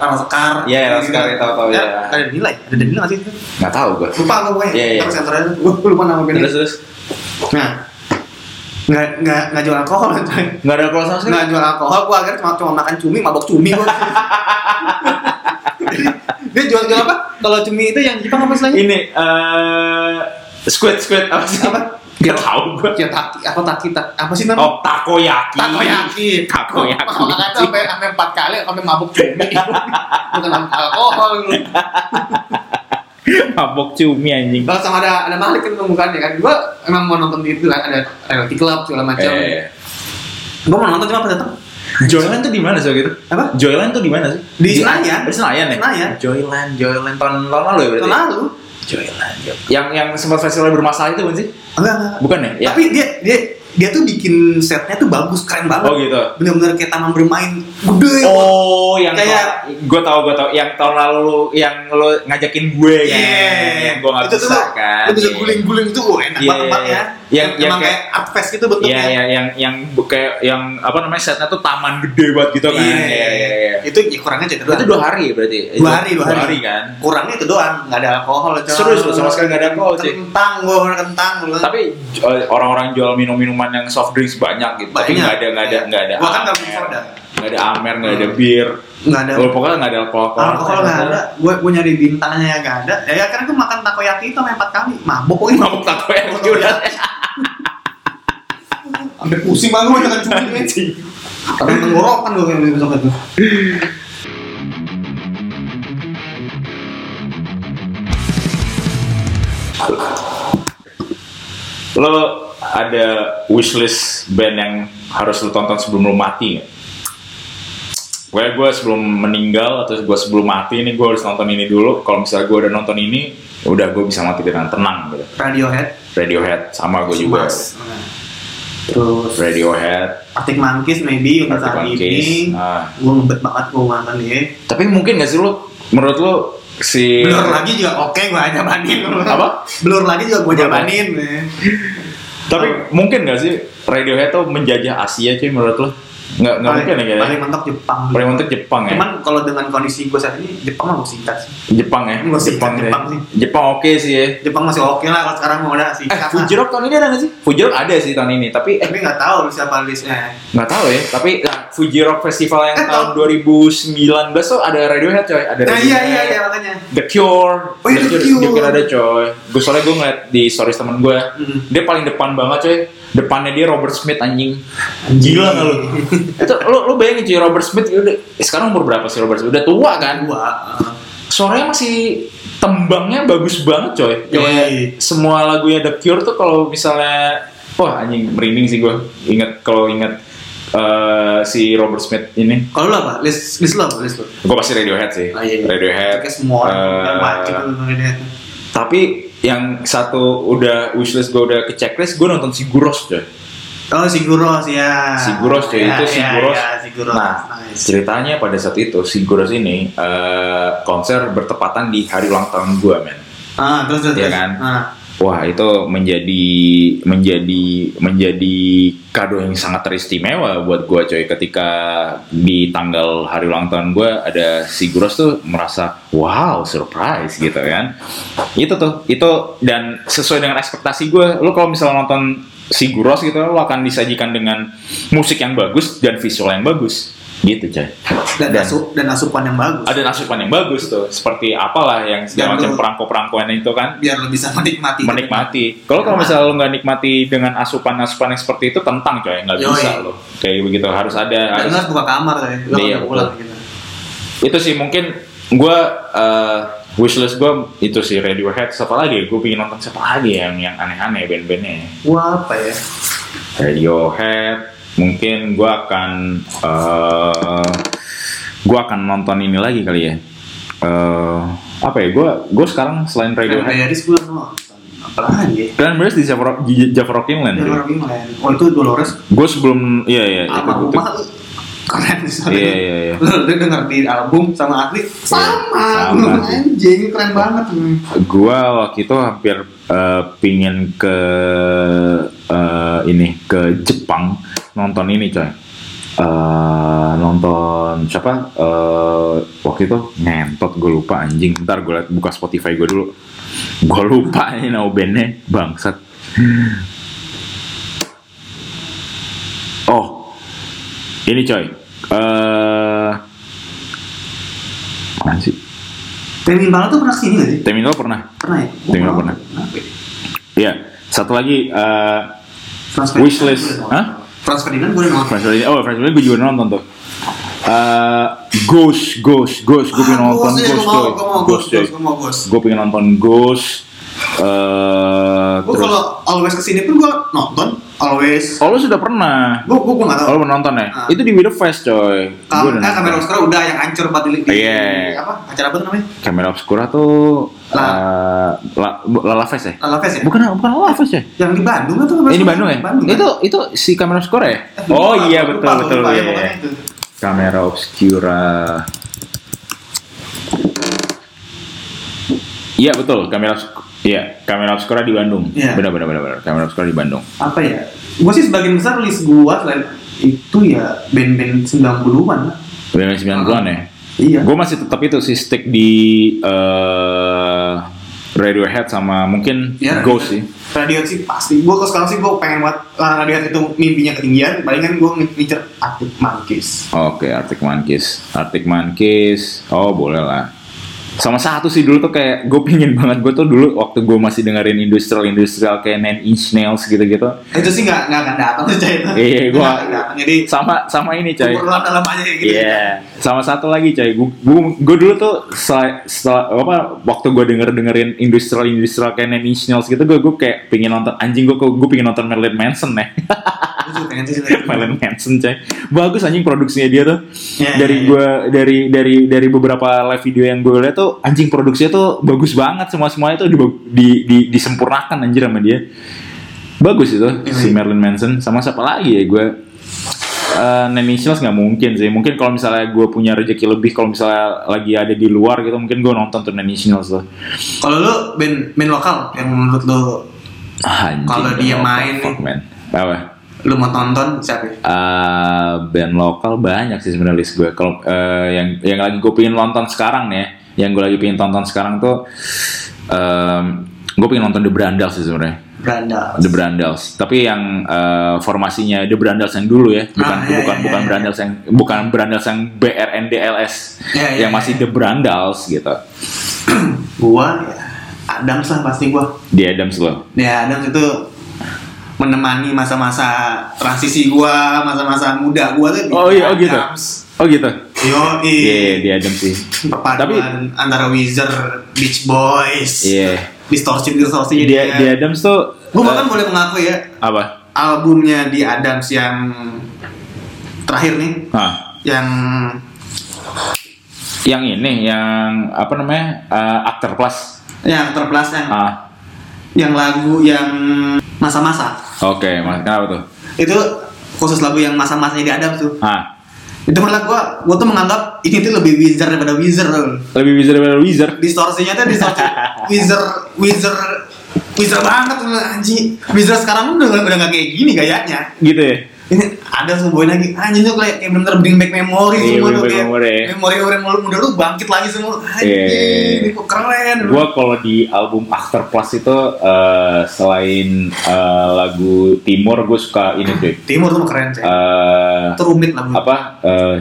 Speaker 2: Rama Sekar
Speaker 1: Iya, Rama Sekar, ya, tahu-tahu, ya.
Speaker 2: ada Danila ya ada Danila nggak sih itu?
Speaker 1: nggak tahu gue.
Speaker 2: lupa aku pokoknya
Speaker 1: Iya, iya.
Speaker 2: Terus yang terakhir, gua lupa nama bandnya
Speaker 1: Terus terus
Speaker 2: nah nggak nggak nggak jual alkohol coy
Speaker 1: nggak ada alkohol sama sekali.
Speaker 2: nggak jual alkohol gua akhirnya cuma cuma makan cumi mabok cumi gua dia jual jual apa kalau cumi itu yang Jepang apa istilahnya
Speaker 1: ini eh squid squid apa sih
Speaker 2: Apa?
Speaker 1: Gak tahu gue.
Speaker 2: ya taki apa taki tak- apa sih namanya
Speaker 1: Oh takoyaki.
Speaker 2: Takoyaki.
Speaker 1: Takoyaki.
Speaker 2: Makan itu sampai sampai empat kali sampai mabuk cumi. Bukan alkohol. lu.
Speaker 1: Mabok cumi anjing.
Speaker 2: Kalau sama ada ada Malik kan pembukaannya kan. Gua emang mau nonton di itu kan ada reality club segala macam.
Speaker 1: Eh,
Speaker 2: Gua mau nonton cuma pas datang.
Speaker 1: Joyland tuh di mana sih waktu itu?
Speaker 2: Apa?
Speaker 1: Joyland tuh di mana sih?
Speaker 2: Di Senayan.
Speaker 1: Di Senayan ya?
Speaker 2: Senayan.
Speaker 1: Joyland, Joyland tahun tahun lalu ya
Speaker 2: Tahun
Speaker 1: berarti?
Speaker 2: lalu.
Speaker 1: Joyland, Joyland. Yang yang sempat festival bermasalah itu bukan sih?
Speaker 2: Enggak enggak.
Speaker 1: Bukan ya? ya?
Speaker 2: Tapi dia dia dia tuh bikin setnya tuh bagus keren
Speaker 1: Oh
Speaker 2: banget.
Speaker 1: gitu.
Speaker 2: Bener-bener kayak taman bermain gede.
Speaker 1: Oh, yang
Speaker 2: Kayak-
Speaker 1: gue tau, gue tau, yang tahun lalu lu- yang lo ngajakin gue
Speaker 2: Iya.
Speaker 1: kan, yang gue nggak
Speaker 2: Itu tuh
Speaker 1: bisa kan.
Speaker 2: Lu bisa
Speaker 1: Iya.
Speaker 2: guling-guling tuh wah enak
Speaker 1: Iya,
Speaker 2: banget tempatnya.
Speaker 1: iya. Yang- yang
Speaker 2: emang kayak art fest gitu bentuknya.
Speaker 1: Iya, iya, yang yang bu- kayak yang apa namanya setnya tuh taman gede banget gitu kan. Iya, iya, iya.
Speaker 2: Itu ya, kurangnya jadi
Speaker 1: Itu dua hari ya berarti.
Speaker 2: dua hari Iya. dua hari,
Speaker 1: kan.
Speaker 2: kurangnya itu doang nggak ada alkohol coy.
Speaker 1: Serius lu, sama sekali nggak ada alkohol, cuy.
Speaker 2: kentang gue orang kentang lu
Speaker 1: Tapi eh, orang-orang jual minum-minuman yang soft drinks banyak gitu. Tapi
Speaker 2: Banyak.
Speaker 1: nggak ada nggak ada nggak ada.
Speaker 2: Gua kan nggak
Speaker 1: amer.
Speaker 2: minum soda.
Speaker 1: Nggak ada amer, nggak ada bir.
Speaker 2: nggak ada
Speaker 1: Gua pokoknya nggak ada alkohol.
Speaker 2: alkohol nggak ada gue gue nyari bintangnya nggak ada ya, ya karena gue makan takoyaki itu sampai empat kali mabok pokoknya
Speaker 1: Mabuk takoyaki udah.
Speaker 2: sampai pusing banget gue dengan cumi ini
Speaker 1: Anjing.
Speaker 2: sampai tenggorokan gue kayak besok itu
Speaker 1: Lo ada wishlist band yang harus lo tonton sebelum lo mati nggak? Pokoknya gue sebelum meninggal atau gue sebelum mati ini gue harus nonton ini dulu. Kalau misalnya gue udah nonton ini, udah gue bisa mati dengan tenang gitu.
Speaker 2: Radiohead
Speaker 1: Radiohead sama gue Oh, juga.
Speaker 2: Mas. Nah. terus
Speaker 1: Radiohead.
Speaker 2: Arctic Monkeys maybe untuk
Speaker 1: Arctic
Speaker 2: saat
Speaker 1: Monkeys, Iya.
Speaker 2: ini
Speaker 1: nah.
Speaker 2: gue ngebet banget ya. gue makan dia
Speaker 1: Tapi mungkin gak sih lo, menurut lo si
Speaker 2: Blur lagi juga oke gua jabanin
Speaker 1: Apa?
Speaker 2: Blur lagi juga gua
Speaker 1: Blur.
Speaker 2: jabanin ya.
Speaker 1: Tapi mungkin gak sih Radiohead tuh menjajah Asia cuy menurut lo? Nggak, nggak mungkin ya kayaknya.
Speaker 2: Paling mentok Jepang
Speaker 1: Paling untuk Jepang ya.
Speaker 2: Cuman kalau dengan kondisi gua saat ini Jepang mah mau singkat sih
Speaker 1: Jepang ya.
Speaker 2: Nggak sih,
Speaker 1: Jepang,
Speaker 2: Jepang
Speaker 1: sih.
Speaker 2: sih.
Speaker 1: Jepang oke sih ya.
Speaker 2: Jepang masih oke lah kalau sekarang mau udah
Speaker 1: Eh,
Speaker 2: singkat lah.
Speaker 1: Fuji Rock tahun ini ada nggak sih? Fuji Rock ada sih tahun ini, tapi eh
Speaker 2: Tapi nggak tahu siapa listnya
Speaker 1: nggak tahu ya. Tapi nah, Fuji Rock Festival yang
Speaker 2: Eh,
Speaker 1: tahun
Speaker 2: tahun-
Speaker 1: 2019 tuh ada Radiohead coy, ada
Speaker 2: Nah
Speaker 1: Radiohead.
Speaker 2: iya iya iya makanya
Speaker 1: The Cure,
Speaker 2: Oh, iya, The Cure.
Speaker 1: ada coy. Gue soalnya gue ngeliat di stories temen gue,
Speaker 2: Mm.
Speaker 1: dia paling depan banget coy. Depannya dia Robert Smith anjing. Gila nggak lu? Itu lu lu bayangin cuy Robert Smith ya udah sekarang umur berapa sih Robert Smith? Udah tua kan?
Speaker 2: Gua eh,
Speaker 1: Suaranya masih tembangnya bagus banget coy. Kayak
Speaker 2: Yoi.
Speaker 1: semua lagunya The Cure tuh kalau misalnya wah anjing merinding sih gue inget kalau inget eh, si Robert Smith ini.
Speaker 2: Kalau lu apa? List, list lo apa? List lo?
Speaker 1: Gue pasti Radiohead sih.
Speaker 2: Ah, iya, iya.
Speaker 1: Radiohead.
Speaker 2: Kayak semua orang yang
Speaker 1: eh,
Speaker 2: wajib nonton Radiohead.
Speaker 1: tapi yang satu udah wishlist gue udah ke checklist, gue nonton si Guros coy.
Speaker 2: Oh Siguros ya
Speaker 1: Siguros cuy,
Speaker 2: Ya,
Speaker 1: itu
Speaker 2: ya,
Speaker 1: Siguros.
Speaker 2: ya, Siguros.
Speaker 1: Nah,
Speaker 2: Nice.
Speaker 1: ceritanya pada saat itu Siguros ini eh, konser bertepatan di hari ulang tahun gue men.
Speaker 2: Ah, terus terus
Speaker 1: Iya
Speaker 2: terus.
Speaker 1: kan?
Speaker 2: Ah.
Speaker 1: Wah itu menjadi menjadi menjadi kado yang sangat teristimewa buat gue coy ketika di tanggal hari ulang tahun gue ada si Guros tuh merasa wow surprise gitu kan itu tuh itu dan sesuai dengan ekspektasi gue lo kalau misalnya nonton si Guros gitu lo akan disajikan dengan musik yang bagus dan visual yang bagus gitu coy
Speaker 2: dan, asu- dan asupan yang bagus
Speaker 1: ada asupan yang bagus tuh seperti apalah yang segala
Speaker 2: Dan
Speaker 1: macam
Speaker 2: lu-
Speaker 1: perangko-perangkoan itu kan
Speaker 2: biar lo bisa menikmati
Speaker 1: menikmati. Kalau kalau misalnya lo nggak nikmati dengan asupan-asupan yang seperti itu tentang coy nggak
Speaker 2: Yoi.
Speaker 1: bisa lo. Kayak begitu harus ada.
Speaker 2: dan
Speaker 1: Harus.
Speaker 2: lo harus buka kamar ya lo
Speaker 1: Iya,
Speaker 2: udah pulang gitu
Speaker 1: Itu sih mungkin gue eh, wishlist gue itu sih Radiohead. Siapa lagi? Gue pengen nonton siapa lagi ya yang yang aneh-aneh band-bandnya.
Speaker 2: wah apa ya
Speaker 1: Radiohead. Mungkin gue akan gue akan nonton ini lagi kali ya. Eh, apa ya? Gue gue sekarang selain Radiohead.
Speaker 2: Cranberries gue nonton apalagi
Speaker 1: Cranberries di Jafro, di Jafro Kingland.
Speaker 2: ya orang lain oh itu Dolores
Speaker 1: Gue sebelum, iya iya. itu
Speaker 2: sama
Speaker 1: gua-
Speaker 2: rumah keren misalnya
Speaker 1: Iya, iya, iya.
Speaker 2: lo udah denger di album sama Atli sama,
Speaker 1: Sama.
Speaker 2: anjing keren banget hmm.
Speaker 1: gua waktu itu hampir eh, pingin ke eh, ini ke Jepang nonton ini coy Eh, nonton siapa Eh, waktu itu ngentot gue lupa anjing ntar gue liat buka Spotify gue dulu gue lupa ini nama bandnya bangsat oh ini coy eh apaan sih
Speaker 2: Demi Bala tuh pernah kesini gak sih?
Speaker 1: Terminal pernah
Speaker 2: Pernah ya? Gua
Speaker 1: Demi Bala Iya, pernah.
Speaker 2: Kenapa ya?
Speaker 1: Iya, satu lagi eh
Speaker 2: Franz Ferdinand
Speaker 1: Wishlist.
Speaker 2: gua udah
Speaker 1: Hah?
Speaker 2: nonton. Franz Ferdinand gue udah nonton
Speaker 1: Franz Ferdinand. Oh, Franz Ferdinand gue juga nonton tuh. Eh Ghost, Ghost, Ghost, gue pengen nonton
Speaker 2: Ah, Ghost,
Speaker 1: Ghost,
Speaker 2: gue mau, gue mau Ghost,
Speaker 1: coy.
Speaker 2: Ghost, gue mau Ghost
Speaker 1: Gue pengen nonton Ghost. Eh
Speaker 2: Gue
Speaker 1: terus,
Speaker 2: kalau Always kesini pun gue nonton Always
Speaker 1: oh lu sudah pernah?
Speaker 2: Gue gue gak
Speaker 1: Oh,
Speaker 2: tau
Speaker 1: lu pernah nonton ya?
Speaker 2: Ah.
Speaker 1: Itu di Widow Fest coy. Gua
Speaker 2: Kam
Speaker 1: udah
Speaker 2: eh, kamera
Speaker 1: nonton.
Speaker 2: Oscar udah yang hancur buat di, di
Speaker 1: Iya.
Speaker 2: apa acara apa tuh namanya?
Speaker 1: Kamera Obscura tuh
Speaker 2: La-
Speaker 1: eh, La- Lala Fest ya?
Speaker 2: Lala Fest ya?
Speaker 1: Bukan, bukan Lala Fest ya?
Speaker 2: Yang di Bandung atau
Speaker 1: Eh, ini Bandung ya?
Speaker 2: Bandung. kan? Eh,
Speaker 1: Itu itu si kamera Obscura ya? Oh iya betul betul.
Speaker 2: Lupa, ya,
Speaker 1: iya.
Speaker 2: pokoknya itu.
Speaker 1: Kamera obscura. Iya betul, kamera obs- iya, kamera obscura di Bandung.
Speaker 2: Iya.
Speaker 1: Benar benar benar benar, kamera obscura di Bandung.
Speaker 2: apa ya? Gue sih sebagian besar list gue selain itu ya band-band 90-an lah.
Speaker 1: Band 90-an ya.
Speaker 2: Iya.
Speaker 1: Gue masih tetap itu sih stick di eh, Radiohead sama mungkin
Speaker 2: Iya,
Speaker 1: Ghost sih.
Speaker 2: Radiohead sih pasti. Gue kalau sekarang sih gue pengen buat uh, Radiohead itu mimpinya ketinggian. Palingan gue ngincer Arctic Monkeys.
Speaker 1: Oke, Arctic Monkeys. Arctic Monkeys. Oh, boleh lah. Sama satu sih dulu tuh kayak gue pingin banget gue tuh dulu waktu gue masih dengerin industrial industrial kayak Nine Inch Nails gitu-gitu.
Speaker 2: Itu sih nggak nggak akan datang sih itu.
Speaker 1: Iya, gua-
Speaker 2: Nggak akan datang. Jadi
Speaker 1: Sama sama ini coy.
Speaker 2: ukuran dalam aja kayak gitu.
Speaker 1: Iya. Sama satu lagi coy. Gue dulu tuh setelah, setelah- apa waktu gue denger dengerin industrial industrial kayak Nine Inch Nails gitu gue gue kayak pingin nonton anjing gue gue pingin nonton Marilyn Manson ya. nih.
Speaker 2: Gue juga pengen sih. sebenarnya.
Speaker 1: Marilyn Manson coy. Bagus anjing produksinya dia tuh.
Speaker 2: Iya,
Speaker 1: dari
Speaker 2: iya,
Speaker 1: gue dari dari dari beberapa live video yang gue lihat tuh anjing produksinya tuh bagus banget semua semuanya tuh diba- di, di, disempurnakan anjir sama dia. Bagus itu
Speaker 2: Iya,
Speaker 1: si Marilyn Manson sama siapa lagi ya gue Eh, Nine Inch Nails nggak mungkin sih. Mungkin kalau misalnya gue punya rezeki lebih, kalau misalnya lagi ada di luar gitu, mungkin gue nonton tuh Nine Inch Nails tuh.
Speaker 2: Kalau lu band band lokal yang menurut lu
Speaker 1: Ah, anjing.
Speaker 2: Kalau dia
Speaker 1: What the
Speaker 2: main
Speaker 1: fuck,
Speaker 2: nih.
Speaker 1: man. Apa?
Speaker 2: lu mau tonton siapa? ya?
Speaker 1: Eh, band lokal banyak sih sebenarnya list gue. Kalau eh, yang yang lagi gue pengen nonton sekarang nih, ya, yang gue lagi pengen tonton sekarang tuh, gue pengen nonton The Brandals sih sebenarnya.
Speaker 2: Berandal.
Speaker 1: The Brandals. Tapi yang eh, formasinya The Brandals yang dulu ya, bukan
Speaker 2: Ah, iya,
Speaker 1: bukan
Speaker 2: iya,
Speaker 1: bukan
Speaker 2: iya.
Speaker 1: Brandals yang bukan Brandals yang BRNDLS
Speaker 2: Iya, iya,
Speaker 1: yang masih
Speaker 2: iya.
Speaker 1: The Brandals gitu.
Speaker 2: Gua ya Adams lah pasti gua.
Speaker 1: Di Adams loh.
Speaker 2: Ya Adams itu menemani masa-masa transisi gua, masa-masa muda gua tuh. di
Speaker 1: Oh iya, oh gitu.
Speaker 2: Adams.
Speaker 1: Oh gitu.
Speaker 2: Yo,
Speaker 1: Iya, iya,
Speaker 2: i.
Speaker 1: di Adams sih.
Speaker 2: perpaduan antara Wizard, Beach Boys,
Speaker 1: Iya.
Speaker 2: distorsi distorsi
Speaker 1: Di, di Adams tuh eh,
Speaker 2: Gue bahkan boleh mengaku ya
Speaker 1: apa?
Speaker 2: albumnya di Adams yang terakhir nih,
Speaker 1: Hah.
Speaker 2: yang
Speaker 1: yang ini yang apa namanya eh, actor plus
Speaker 2: yang terplas yang,
Speaker 1: ah
Speaker 2: yang lagu yang masa-masa
Speaker 1: oke mas kenapa tuh
Speaker 2: itu khusus lagu yang masa-masanya di Adams tuh
Speaker 1: ah
Speaker 2: itu malah gue gue tuh menganggap ini tuh lebih Wizard daripada Wizard loh.
Speaker 1: lebih wizard daripada wizard
Speaker 2: distorsinya tuh distorsi Wizard Wizard Bisa banget lu anjing. Bisa sekarang udah udah nggak kayak gini gayanya.
Speaker 1: gitu ya
Speaker 2: ini ada sebuah lagi anjing tuh kayak kayak bener-bener bring back memory
Speaker 1: Iya,
Speaker 2: semua
Speaker 1: bring
Speaker 2: tuh
Speaker 1: back
Speaker 2: kayak
Speaker 1: memory, ya.
Speaker 2: memori orang muda lu bangkit lagi semua anjing
Speaker 1: Iya.
Speaker 2: ini kok keren
Speaker 1: gue kalau di album After Plus itu eh, selain eh, lagu Timur gue suka ini tuh
Speaker 2: timur tuh keren sih
Speaker 1: eh,
Speaker 2: itu rumit lah bu
Speaker 1: apa eh,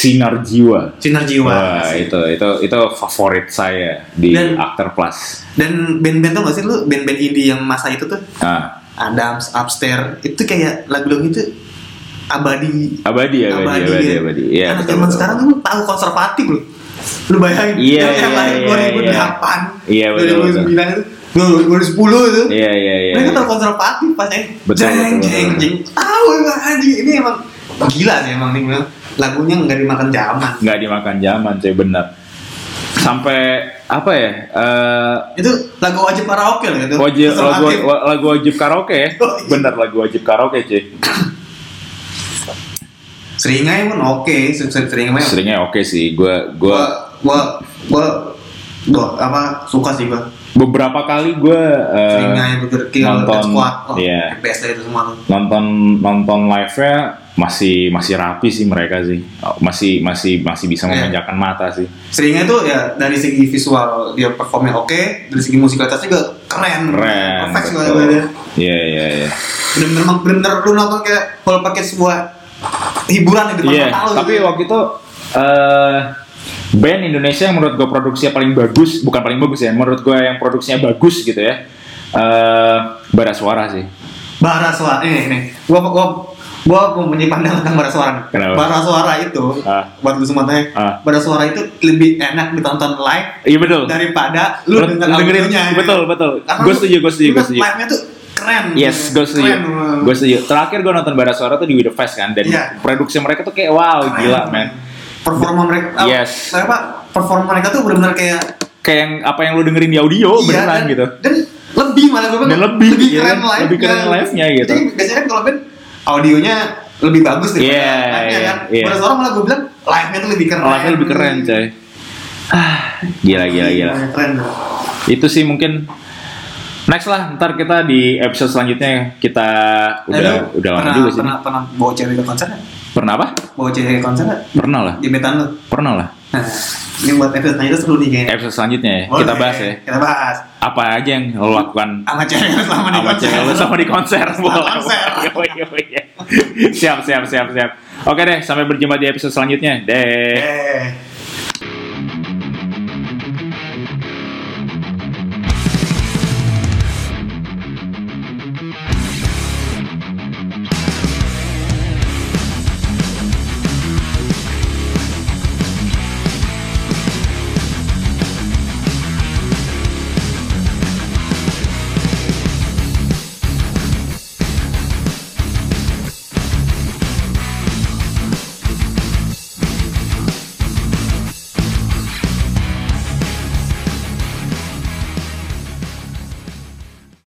Speaker 1: Sinar Jiwa
Speaker 2: sinar jiwa
Speaker 1: Wah, itu itu itu favorit saya di
Speaker 2: Dan-
Speaker 1: After Plus
Speaker 2: dan band-band tuh gak sih lu band-band indie yang masa itu tuh
Speaker 1: nah
Speaker 2: Adams Upstairs itu kayak lagu-lagu itu abadi
Speaker 1: abadi abadi abadi abadi,
Speaker 2: ya.
Speaker 1: abadi. Iya,
Speaker 2: anak
Speaker 1: betul,
Speaker 2: zaman
Speaker 1: betul.
Speaker 2: sekarang tuh tahu konservatif lu lu bayangin
Speaker 1: Iya,
Speaker 2: yang- yang
Speaker 1: iya,
Speaker 2: lahir
Speaker 1: iya,
Speaker 2: 2008
Speaker 1: iya. Iya, betul,
Speaker 2: 2009 itu 2010 itu
Speaker 1: iya iya iya
Speaker 2: Mereka tahu konservatif pas eh.
Speaker 1: Betul,
Speaker 2: jeng
Speaker 1: betul,
Speaker 2: jeng
Speaker 1: betul.
Speaker 2: jeng. Tahu emang anjing ini emang gila sih emang nih bilang. Lagunya nggak dimakan zaman.
Speaker 1: nggak dimakan zaman saya benar sampai apa ya eh,
Speaker 2: Itu lagu wajib karaoke loh itu.
Speaker 1: wajib lagu,
Speaker 2: Konservatif.
Speaker 1: wa- lagu wajib karaoke ya
Speaker 2: Oh, iya.
Speaker 1: bener lagu wajib karaoke cuy
Speaker 2: Seringai pun oke, ser- ser- seringai pun.
Speaker 1: seringnya oke sih gue
Speaker 2: Gua
Speaker 1: gue
Speaker 2: gua gua gua apa suka sih gua.
Speaker 1: beberapa kali eh, gue
Speaker 2: Seringai Burger King,
Speaker 1: nonton,
Speaker 2: Dead Squad. Oh,
Speaker 1: iya.
Speaker 2: best dari itu semua tuh.
Speaker 1: nonton nonton live nya masih masih rapi sih mereka sih masih masih masih bisa
Speaker 2: Iya.
Speaker 1: memanjakan mata sih
Speaker 2: Seringai itu ya dari segi visual dia performnya oke, dari segi musikalitas juga keren.
Speaker 1: keren
Speaker 2: Perfect sih
Speaker 1: betul.
Speaker 2: lagu dia.
Speaker 1: iya iya iya
Speaker 2: bener-bener emang bener-bener lu nonton kayak kalau pakai sebuah hiburan di depan
Speaker 1: Iya,
Speaker 2: mata lu
Speaker 1: tapi
Speaker 2: gitu.
Speaker 1: waktu itu eh band Indonesia yang menurut gue produksinya paling bagus, bukan paling bagus ya, menurut gue yang produksinya bagus gitu ya. eh bara suara sih.
Speaker 2: bara suara ini ini gua gua gua mempunyai pandangan tentang bara suara nih.
Speaker 1: Kenapa?
Speaker 2: bara suara itu
Speaker 1: Ah.
Speaker 2: buat lu semua tanya
Speaker 1: Ah.
Speaker 2: bara suara itu lebih enak ditonton live
Speaker 1: Iya betul.
Speaker 2: daripada lu
Speaker 1: Menurut-
Speaker 2: denger
Speaker 1: dengerin,
Speaker 2: audionya ya.
Speaker 1: betul, betul.
Speaker 2: Karena
Speaker 1: Gue
Speaker 2: lu-
Speaker 1: setuju, gue setuju,
Speaker 2: lu
Speaker 1: gue setuju.
Speaker 2: live-nya tuh keren
Speaker 1: Yes, gue setuju.
Speaker 2: Keren.
Speaker 1: Gue setuju. Terakhir gue nonton bara suara tuh di We The Fest kan, dan
Speaker 2: Iya.
Speaker 1: produksi mereka tuh kayak wow
Speaker 2: Keren.
Speaker 1: gila man.
Speaker 2: performa mereka ah,
Speaker 1: Yes.
Speaker 2: apa performa mereka tuh benar-benar kayak
Speaker 1: Kayak yang apa yang lu dengerin di audio
Speaker 2: Iya,
Speaker 1: beneran
Speaker 2: dan-
Speaker 1: gitu.
Speaker 2: Dan lebih malah gue bilang
Speaker 1: Dan lebih,
Speaker 2: lebih
Speaker 1: iya
Speaker 2: keren
Speaker 1: kan?
Speaker 2: live.
Speaker 1: Lebih keren live-nya gitu.
Speaker 2: Jadi biasanya kan kalau band audionya lebih bagus daripada
Speaker 1: Iya,
Speaker 2: live-nya
Speaker 1: iya,
Speaker 2: kan.
Speaker 1: iya.
Speaker 2: Pada seorang malah gue bilang live-nya tuh lebih keren.
Speaker 1: Live-nya lebih keren coy. Iya, Ah, gila gila gila.
Speaker 2: Iya, Keren. tuh.
Speaker 1: itu sih mungkin next lah ntar kita di episode selanjutnya kita udah
Speaker 2: Eh, lu
Speaker 1: udah lama
Speaker 2: pernah,
Speaker 1: juga sih
Speaker 2: Pernah pernah bawa cewek ke konser? nggak?
Speaker 1: pernah apa
Speaker 2: Bawa cewek ke konser nggak?
Speaker 1: pernah lah
Speaker 2: Jebetan lu.
Speaker 1: pernah lah
Speaker 2: Nah, ini buat episode tanya itu seru nih kayaknya.
Speaker 1: episode selanjutnya ya
Speaker 2: Boleh,
Speaker 1: kita bahas ya
Speaker 2: Kita bahas.
Speaker 1: apa aja yang lo lakukan
Speaker 2: Sama cewek lu selama di
Speaker 1: sama
Speaker 2: konser.
Speaker 1: cewek lo sama di konser
Speaker 2: Setelah
Speaker 1: Boleh,
Speaker 2: konser.
Speaker 1: boleh, boleh. siap siap siap siap oke deh sampai berjumpa di episode selanjutnya deh
Speaker 2: Eh.